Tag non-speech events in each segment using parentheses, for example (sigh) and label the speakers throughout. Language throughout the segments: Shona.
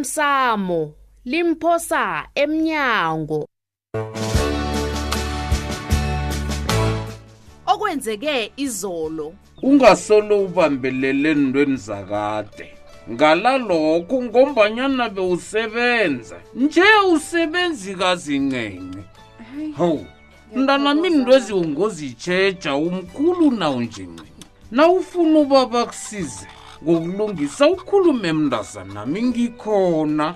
Speaker 1: osemsamo limphosa emnyango okwenzeke izolo
Speaker 2: ungasolo ubambelele ntweni zakade ngalalokho ngombanyana bewusebenza nje usebenzi kazincenci hawu mntanami into eziwungozitsheja umkhulu nawo njenci nawufuna ubaba kusize ngokulungisa ukhulume mntazanami ngikhona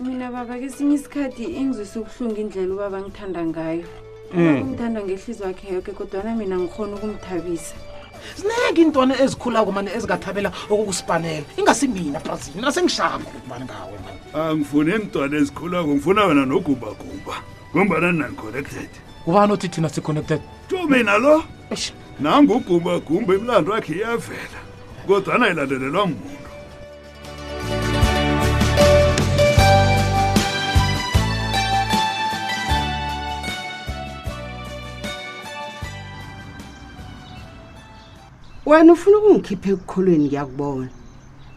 Speaker 3: mina baba kesinye isikhathi engizwise ubuhlungu indlela ubaba ngithanda ngayo ngithanda ngehliziyo yakhe yoke kodwana mina ngikhona ukumthabisa
Speaker 4: zineke iintwana ezikhulako mane ezikathabela okukusipanela ingasi mina brazil mina sengishaba kubani ngawe mani
Speaker 5: angifuni iintwana ezikhulako ngifuna wena nogubaguba ngombana nani-connected
Speaker 4: kubani othi thina si-connected
Speaker 5: to mina lo
Speaker 4: Eish.
Speaker 5: nangugubagumba imlando yakhe iyavela kodwana ilandelelwa muntu
Speaker 6: wena ufuna ukungikhipha ekukholweni ngiyakubona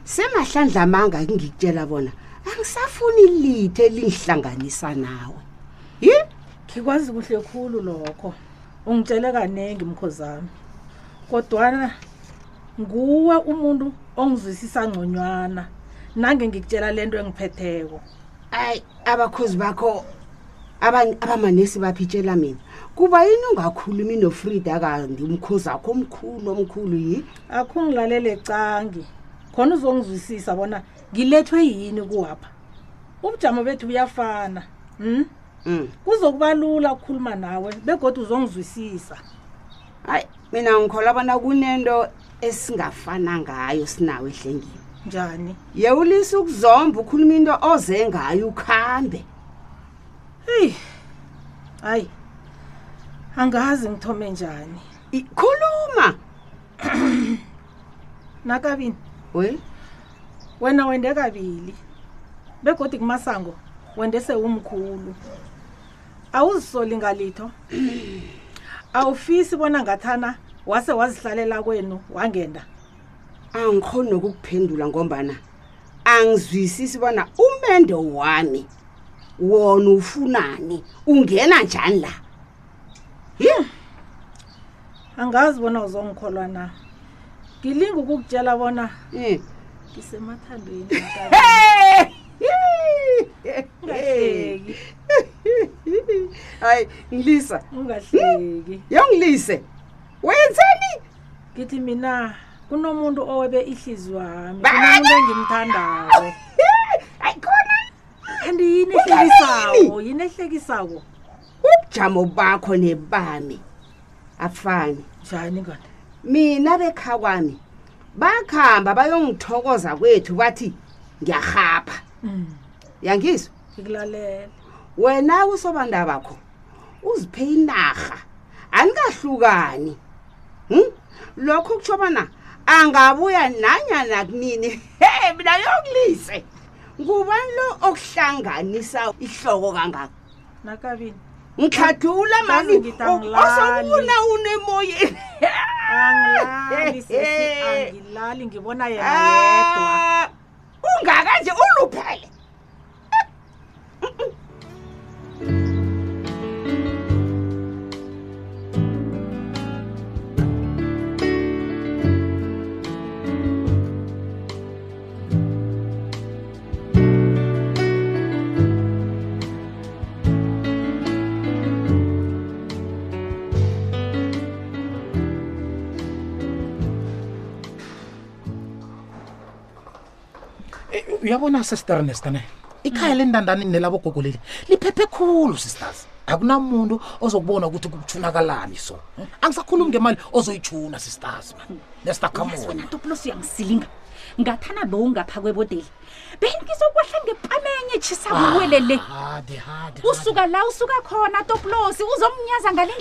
Speaker 6: semahlandla amanga ngikutshela bona angisafuni litho elingihlanganisa nawe yi
Speaker 7: ngikwazi kuhle khulu lokho ungitshele kaningi mkhozami kodwana nguwe umuntu ongizwisisa ngconywana nange ngikutshela le nto engiphetheko
Speaker 6: ayi abakhozi bakho aba- abamanesi baphitshela mina kuba yini ungakhulumi nofrida kanti umkhozi akho omkhulu omkhulu yi
Speaker 7: akhungilalele cangi khona uzongizwisisa bona ngilethwe yini kuwapha ubujamo bethu buyafana um
Speaker 6: Mm.
Speaker 7: kuzokuba lula ukukhuluma nawe begodwa uzongizwisisa
Speaker 6: hayi mina ngikhola bona kunento esingafana ngayo sinawe ehlengini
Speaker 7: njani
Speaker 6: yewulisa ukuzomba ukhuluma into oze ngayo ukhambe
Speaker 7: heyi hayi angazi ngithome njani
Speaker 6: I- khuluma
Speaker 7: (clears throat) nakabini
Speaker 6: we
Speaker 7: wena wende kabili begodi kumasango wende sewumkhulu awuzisoli ngalitho awufisi bona ngathana wase wazihlalela kwenu wangenda
Speaker 6: angikhoni nokukuphendula ngombana angizwisisi bona umendo wami wona ufunani ungena njani la yi
Speaker 7: angazi bona uzongikholwa na ngilinga ukukutshela bona
Speaker 6: Eh.
Speaker 7: ngisemathandweni
Speaker 6: Hey. hayi ngilisa (laughs)
Speaker 7: ungahleki
Speaker 6: yongilise wenzeni
Speaker 7: ngithi mina kunomuntu owebe ihliziyo wami
Speaker 6: Baba!
Speaker 7: kunomuntu engimthandako
Speaker 6: hayi khona
Speaker 7: kanti yini ehlekisako yini ehlekisako
Speaker 6: ubujamo bakho nebami afani
Speaker 7: njani ngani
Speaker 6: mina bekha kwami bakhamba bayongithokoza kwethu bathi ngiyahapha
Speaker 7: Mm.
Speaker 6: yangizwa
Speaker 7: ngikulalela
Speaker 6: wena usobanda bakho uziphe inarha anikahlukani hm? lokho kutsho bona angabuya nanyana kunini he mina yokulise ngubani lo okuhlanganisa ihloko kangaka
Speaker 7: nakabini
Speaker 6: ngikhathula
Speaker 7: Yazi
Speaker 6: mani
Speaker 7: ngithi angilali.
Speaker 6: osokuna unemoyeni
Speaker 7: angilali sesi angilali ngibona yena yedwa
Speaker 6: Ah, ungaka nje uluphele
Speaker 4: Eh, uyabona sister ernest ne ikhaya lendandani nelabogogo leli liphephe khulu sisters akunamuntu ozokubona ukuthi kutshunakalani so angisakhulumi ngemali ozoyitshuna sisters man nesta
Speaker 8: yasona
Speaker 4: camona
Speaker 8: toplos uyangisilinga ngathana lo ungapha kwebodeli bengizokwahla ngepamenye tshisakuwele le
Speaker 4: hadi hadi
Speaker 8: usuka la usuka khona toplos uzomnyaza ngale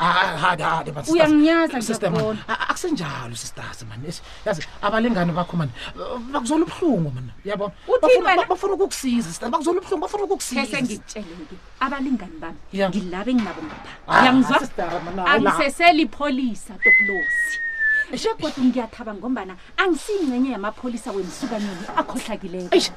Speaker 4: Ah,
Speaker 8: ndlela
Speaker 4: eh,
Speaker 8: Uyangiyaza, ngiyakubona.
Speaker 4: akusenjalo sisters man Eish, yazi abalingani bakho mani eh, bakuzola ubuhlungu mana yabo
Speaker 8: Uthini
Speaker 4: Bafuna-
Speaker 8: wena?
Speaker 4: bafuna ukukusiza sisters bakuzola ubuhlungu bafuna
Speaker 8: kese
Speaker 4: ukukusiza
Speaker 8: ngikutsheleke abalingani bami
Speaker 4: Ya.
Speaker 8: ngilabe nginabo ngapha
Speaker 4: Ah,
Speaker 8: uyangizwa
Speaker 4: sister, mana, la. (laughs)
Speaker 8: angiseseli pholisa toplosi begodwa ngiyathaba ngombana angisiyingcenye yamapholisa wemsukanyeni akhohlakileyo
Speaker 4: eish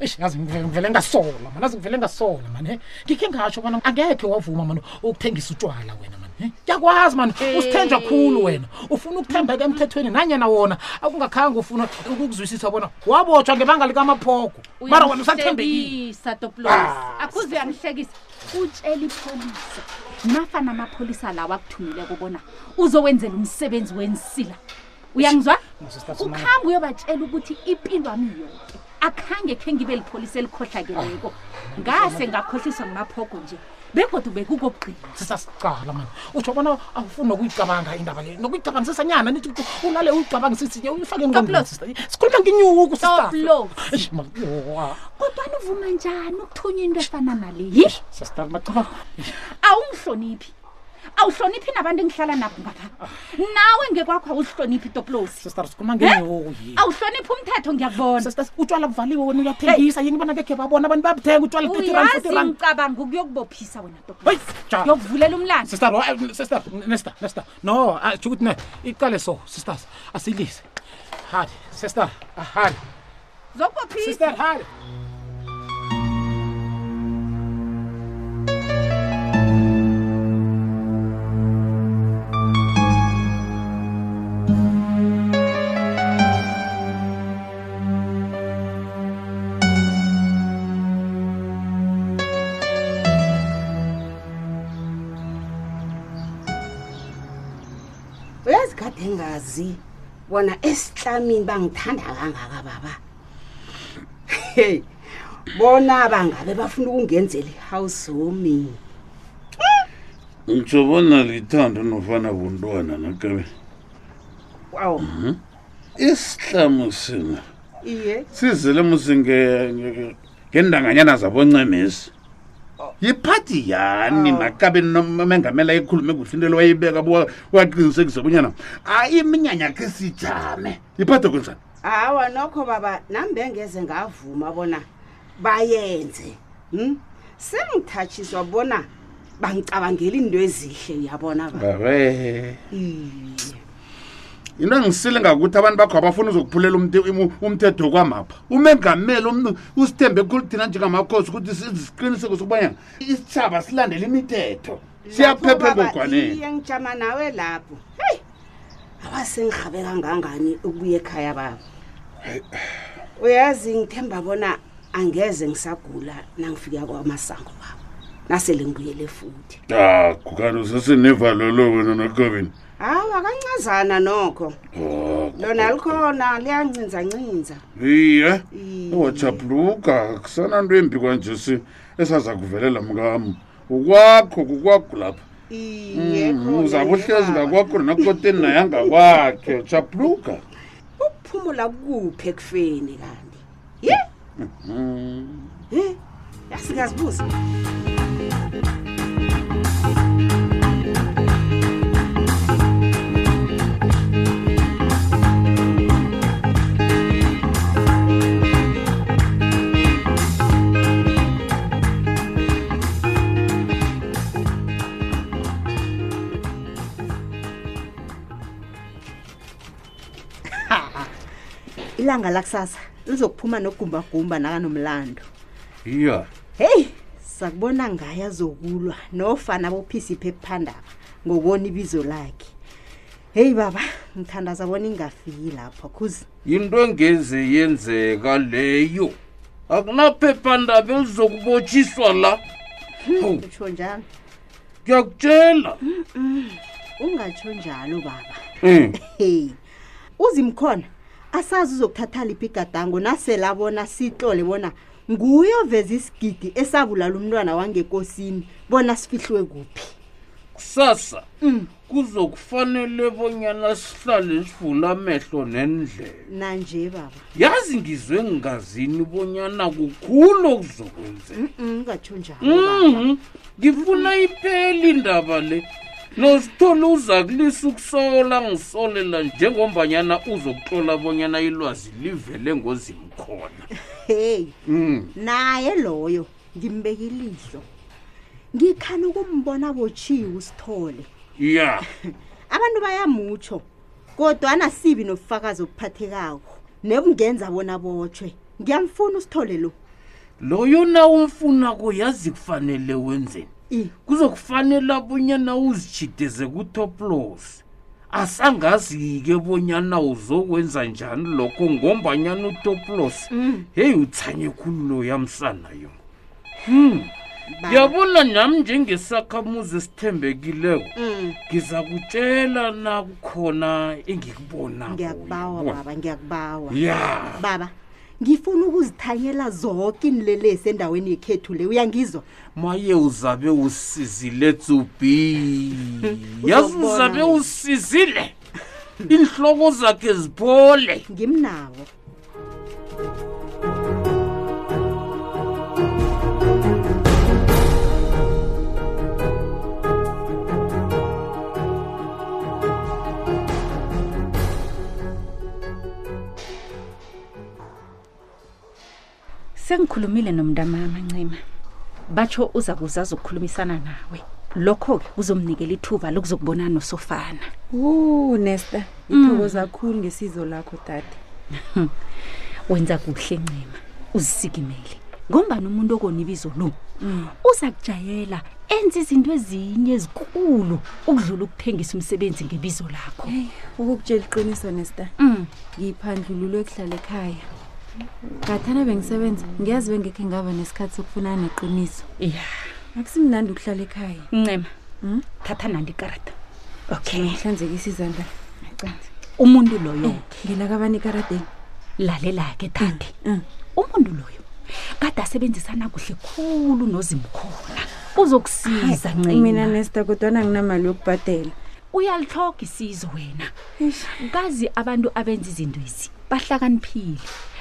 Speaker 4: eish yazi ngivele ngivele ngasola mani azi ngivele ngasola mani he ngikhe ngatsho bona angekhe wavuma mani ukuthengisa utshwala wena mani he ngiyakwazi mani usithenjwa khulu wena ufuna ukuthembeka emthethweni nanyana wona akungakhange ufuna ukuzwisisa bona wabotshwa ngebanga likamaphogo mara wena usathembekile Ah,
Speaker 8: toplos akuze uyangihlekisa utshela ipholisa nafana amapholisa lawo akuthumileko bona uzowenzela umsebenzi wensila uyangizwa
Speaker 4: Sister Sumaya.
Speaker 8: ukhambe uyobatshela ukuthi impilo wami yonke akhange khe ngibe lipholisa elikhohlakeleko ngase ngakhohliswa ngumaphogo nje begodwa bekukokugqina
Speaker 4: sisasicala mani utsho bona awufuni nokuyicabanga indaba le nokuyicabangisisanyana nithi ukuthi ulale uyicabangisisine uyifake engqondweni,
Speaker 8: Toplos.
Speaker 4: sister. sikhuluma nginyuku
Speaker 8: Toplos.
Speaker 4: sisitasister
Speaker 8: kodwani uvuma njani ukuthunya into efana nale yi
Speaker 4: macabanga
Speaker 8: awungihloniphi awuhloniphi nabantu engihlala nabo ngapha nawe ngekwakho awuzihloniphi toplosi
Speaker 4: sister sikhuluma nginyuku yini
Speaker 8: awuhloniphi umthetho ngiyakubona
Speaker 4: sisters utshwala buvaliwe wena uyathengisa yini bona kekhe babona abantu babuthenga utshwala
Speaker 8: uyazi ngicabanga ukuyokubophisa wena
Speaker 4: Hey,
Speaker 8: toplosi
Speaker 4: ja.
Speaker 8: yokuvulela umlando
Speaker 4: sister wa- eh, sister nesta nesta no atsho ukuthi ne iqale so sisters asilise hadi sister ah, hadi
Speaker 8: zokubophisa
Speaker 4: sister hadi
Speaker 6: uyazi kade ngazi bona esihlamini bangithanda kangaka baba hey bona bangabe bafuna ukungenzela i-house homing
Speaker 2: ngitsho bona lithando nofana buntwana nakabe
Speaker 6: awu
Speaker 2: isihlamu sina
Speaker 6: iye
Speaker 2: sizele musi nge- nge- ngendanganyana zaboncemesi yiphathi yani nakabe nomengamela ekhulume kuhle into lo wayibeka bo- waqinisekisa bunyana hayi iminyanya khe sijame yiphathe kunjani
Speaker 6: hawa nokho baba nami bengeze ngavuma bona bayenze um sengithatshiswa bona bangicabangela into ezihle uyabona ba
Speaker 2: babe
Speaker 6: iye
Speaker 2: into engisile ngakuthi abantu bakho abafuna uzokuphulela umthe- imu- umthetho kwamapha umengameli umnu- usithembe khulu thina njengamakhosi ukuthi siziqiniseko sokubanyana isitshaba silandele imithetho siyaphepha
Speaker 6: Lapho, baba,
Speaker 2: engogwaneni
Speaker 6: iye ngijama nawe lapho heyi awasengihabe kangangani ukubuya ekhaya baba uyazi ngithemba bona angeze ngisagula nangifika kwamasango baba nasele ngibuyele futhi
Speaker 2: Ah, kukani usesenevalo lo wena nogovini
Speaker 6: hawa kancazana nokho lona likhona liyancinzacinza
Speaker 2: iye
Speaker 6: Iye.
Speaker 2: wachaphuluka kusana Oh, nto embi kwanje si- esaza kuvelela mkam ukwakho kukwakho lapha
Speaker 6: iye
Speaker 2: Mhm,
Speaker 6: khona
Speaker 2: uzabe uhlezi
Speaker 6: baba.
Speaker 2: ngakwakho nakoteni nayangakwakhe chaphuluka
Speaker 6: ukuphumula kuphi ekufeni kanti ye ye yasingazibuza
Speaker 9: ilanga lakusasa lizokuphuma nogumbagumba nakanomlando
Speaker 2: iya
Speaker 9: heyi sakubona ngaye azokulwa nofana bophisiphe ephuphandaba ngobona ibizo lakhe heyi baba ngithandaza bona ingafiki lapho khuze
Speaker 2: yinto engeze yenzeka leyo akunaphephandaba elizokubotshiswa la Hawu,
Speaker 9: utsho njalo
Speaker 2: ngiyakutshela
Speaker 9: ungatsho njalo baba
Speaker 2: um
Speaker 9: heyi uzimkhona asazi uzokuthatha liphi igadango nasela bona sitlole bona nguye oveza isigidi esabulala umntwana wangekosini bona sifihliwe kuphi
Speaker 2: kusasa kuzokufanele bonyana sihlale sivula amehlo nendlela
Speaker 9: nanje baba
Speaker 2: yazi ngizwe ngingazini bonyana kukhulu okuzokwenzeka
Speaker 9: Mm, ungatsho njalo
Speaker 10: Mm.
Speaker 9: baba
Speaker 2: Mhm. ngifuna ipheli indaba le nosithole uza kulisa ukusola ngisolela njengombanyana uzokutlola bonyana ilwazi livele ngozimkhona
Speaker 9: heyi
Speaker 2: Mm.
Speaker 9: naye loyo ngimbeka ilihlo ngikhani ukumbona botshiwe usithole
Speaker 2: ya
Speaker 9: abantu bayamutsho kodwana sibi nobufakazi obuphathekako nebungenza bona botshwe ngiyamfuna usithole lo
Speaker 10: loyo na umfunako yazi kufanele wenzeni
Speaker 9: i
Speaker 10: kuzokufanele abonyana uzitshideze kutoplos asangazi-ke bonyana uzokwenza njani lokho ngombanyana utoplos
Speaker 9: Mm.
Speaker 10: heyi uthanye khulu loya msana yo hmm. yabona nami njengesakhamuzi esithembekileko
Speaker 9: Mm.
Speaker 10: ngiza kutshela na kukhona engikubonako
Speaker 9: ngiyakubawa
Speaker 10: uyabona?
Speaker 9: baba ngiyakubawa
Speaker 10: ya
Speaker 9: baba ngifuna ukuzithanyela zonke inilelesi endaweni yekhethu le uyangizwa
Speaker 10: maye uzabe usizile tsubi yazi
Speaker 9: Uzokubona
Speaker 10: uzabe
Speaker 9: wena.
Speaker 10: usizile iinhloko zakhe ziphole
Speaker 9: ngimnawo
Speaker 8: sengikhulumile nomntamama ncema batsho uza kuzazi ukukhulumisana nawe lokho-ke kuzomnikela ithuba lokuzokubonana nosofana Mm.
Speaker 3: wu nesta ngithokoza kakhulu ngesizo lakho dade
Speaker 8: (laughs) wenza kuhle ncema uzisikimele ngombani umuntu okonibizo lo
Speaker 3: Mm.
Speaker 8: uza kujayela enza izinto ezinye ezikulu ukudlula ukuthengisa umsebenzi ngebizo lakho
Speaker 3: heyi ukukutshela iqiniso nesta
Speaker 8: Mm.
Speaker 3: ngiyiphandlululwe ekuhlala ekhaya ngathana bengisebenza ngiyazi bengekhe ngaba nesikhathi sokufunana neqiniso
Speaker 8: ya
Speaker 3: akusimnandi ukuhlala ekhaya
Speaker 8: ncema
Speaker 3: Mm.
Speaker 8: thatha nandi ikarada okay
Speaker 3: hlanzekisa izandla acanzi
Speaker 8: umuntu loyo-ke
Speaker 3: ngilakabani ikaradeni
Speaker 8: lalela-ke thande
Speaker 3: Mm.
Speaker 8: umuntu loyo kade asebenzisana kuhle khulu nozimkhona uzokusiza
Speaker 3: mina
Speaker 8: ncema
Speaker 3: nesta kodwana nginamali yokubhadela
Speaker 8: uyalithoga isizo wena kazi abantu abenza izinto ezi bahlakaniphile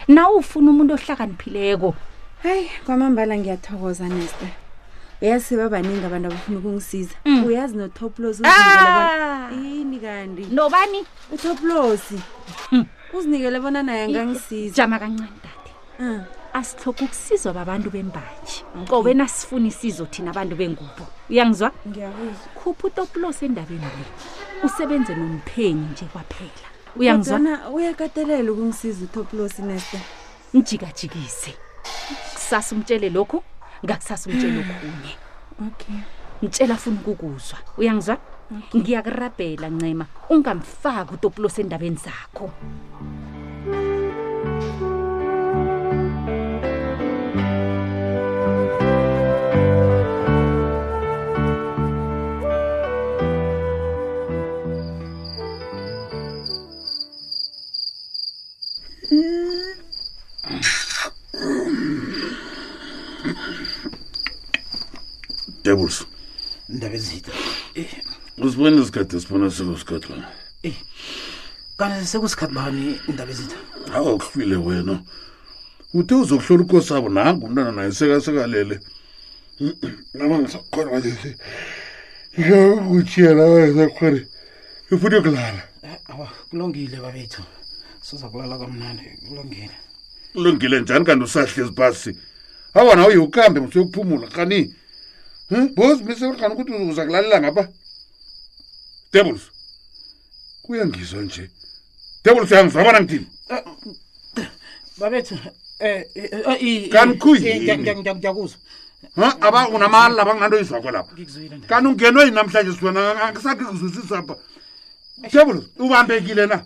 Speaker 8: nawe ufuna umuntu ohlakaniphileko
Speaker 3: hayi kwamambala ngiyathokoza nesta uyazi sebabaningi abantu abafuna ukungisiza
Speaker 8: Mm.
Speaker 3: uyazi notoplos
Speaker 8: Ah!
Speaker 3: ini kanti
Speaker 8: nobani
Speaker 3: utoplosi uzinikele bona naye angangisiza
Speaker 8: jama kancane dade
Speaker 3: Mm.
Speaker 8: Ah. asihloga ukusizwa babantu bembaji kobena sifuna isizo thina abantu bengubo uyangizwa
Speaker 3: ngiyakuzwa
Speaker 8: khupha utopulosi endabeni le usebenze nomphenyi nje kwaphela uyangizwa
Speaker 3: uyangizwana uyakatelela ukungisiza utoplosi nesta
Speaker 8: mjikajikise kusasa umtshele lokhu ngakusasa umtshele okhunye
Speaker 3: okay
Speaker 8: mtshela funa ukukuzwa uyangizwa ngiyakurabhela ncema ungamfaki utopulosi endabeni zakho
Speaker 2: debuls
Speaker 4: indaba ezitha
Speaker 10: Eh.
Speaker 2: usibone isikhathi esibona sekusikhathi wena
Speaker 4: kanti sekusikhathi bani indaba ezitha
Speaker 2: hawa kuhlwile wena uthe uzokuhlola ukosi abo nangu umntwana naye sekasekalele nama ngisakhona manje ngiyakutshiyana wayesakhona ngifuna ukulala
Speaker 4: Eh, awa kulungile babethu siza kulala kamnandi kulungile
Speaker 2: ulungile njani kanti usahlezi phasi hawa nawe yokukambe msuyokuphumula kani bos misekani ukuthi uza kulalela ngapha debuls kuyangizwa nje debuls uyangizwa abona ngithini
Speaker 4: Eh, babethu eh,
Speaker 2: Kanti kuyini?
Speaker 4: ngiyakuzwa
Speaker 2: Ha, aba unamala abanginanto yizwakho lapha
Speaker 4: ngikuzwile nda
Speaker 2: kanti ungenwe yini namhlanje siwena angisakhe kuzwisisapha debuls ubambekile na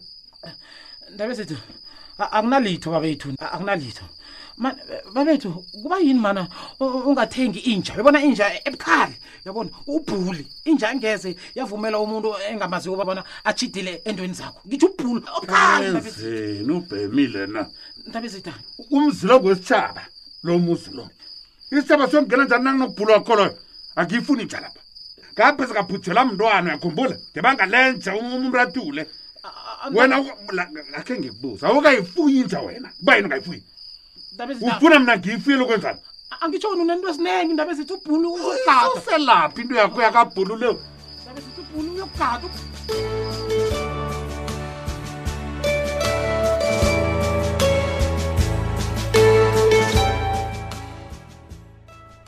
Speaker 4: ndaba zethu a- akunalitho babethu a- akunalitho Man, eh, babethu kuba yini mana u- u- ungathengi inja yabona inja ebukhali yabona ubhuli inja angeze yavumela umuntu engamaziwo uba bona atshidile endweni zakho ngitsho ubhuli obukhali
Speaker 2: enzeni ubhemile na
Speaker 4: ndaba ezitha
Speaker 2: umzilo kwesitshaba lo muzi lo isitshaba siyongena njani nanginokubhulwa koloyo akiyifuni nja lapha ngaphe sikaphuthelwa mntwana uyakhumbula ngebangalenja umuntu atule um, wena uka- la- akhe ngikubuza awukayifuyi inja wena kuba yini ungayifuyi ufuna mna ngiyifuyile ukwenzani
Speaker 4: angitshoni unento esinengi ndaba ezitha ubhuli uzogada
Speaker 2: uselaphi into yakho yakabhululeyo
Speaker 4: ndaba ezitha ubhuli uyogada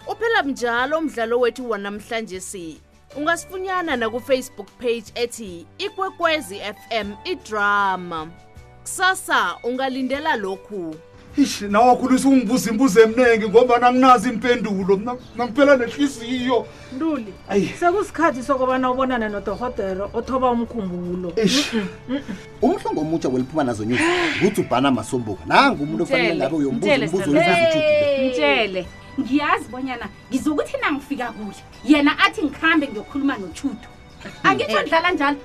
Speaker 1: uphela njalo umdlalo wethu wanamhlanje si ungasifunyana nakufacebook page ethi ikwekwezi fm idrama kusasa ungalindela lokhu
Speaker 2: ish nawakhulisa ungibuza imbuzo emningi ngoba nanginazi impendulo mna nangiphela nehliziyo
Speaker 7: ntuli sekusikhathi sokubana ubonane nodohotero othoba umkhumbulo
Speaker 11: Eish. umhlongo omutsha weliphumana zonyusa kuthi ubhana masombuka nangu umuntu ofanele ngabe uyombuza umbuzo
Speaker 8: mtshele ngiyazi bonyana ngizokuthi nangifika kule yena athi ngikhambe ngiyokhuluma nochudo angitsho ndlala njalo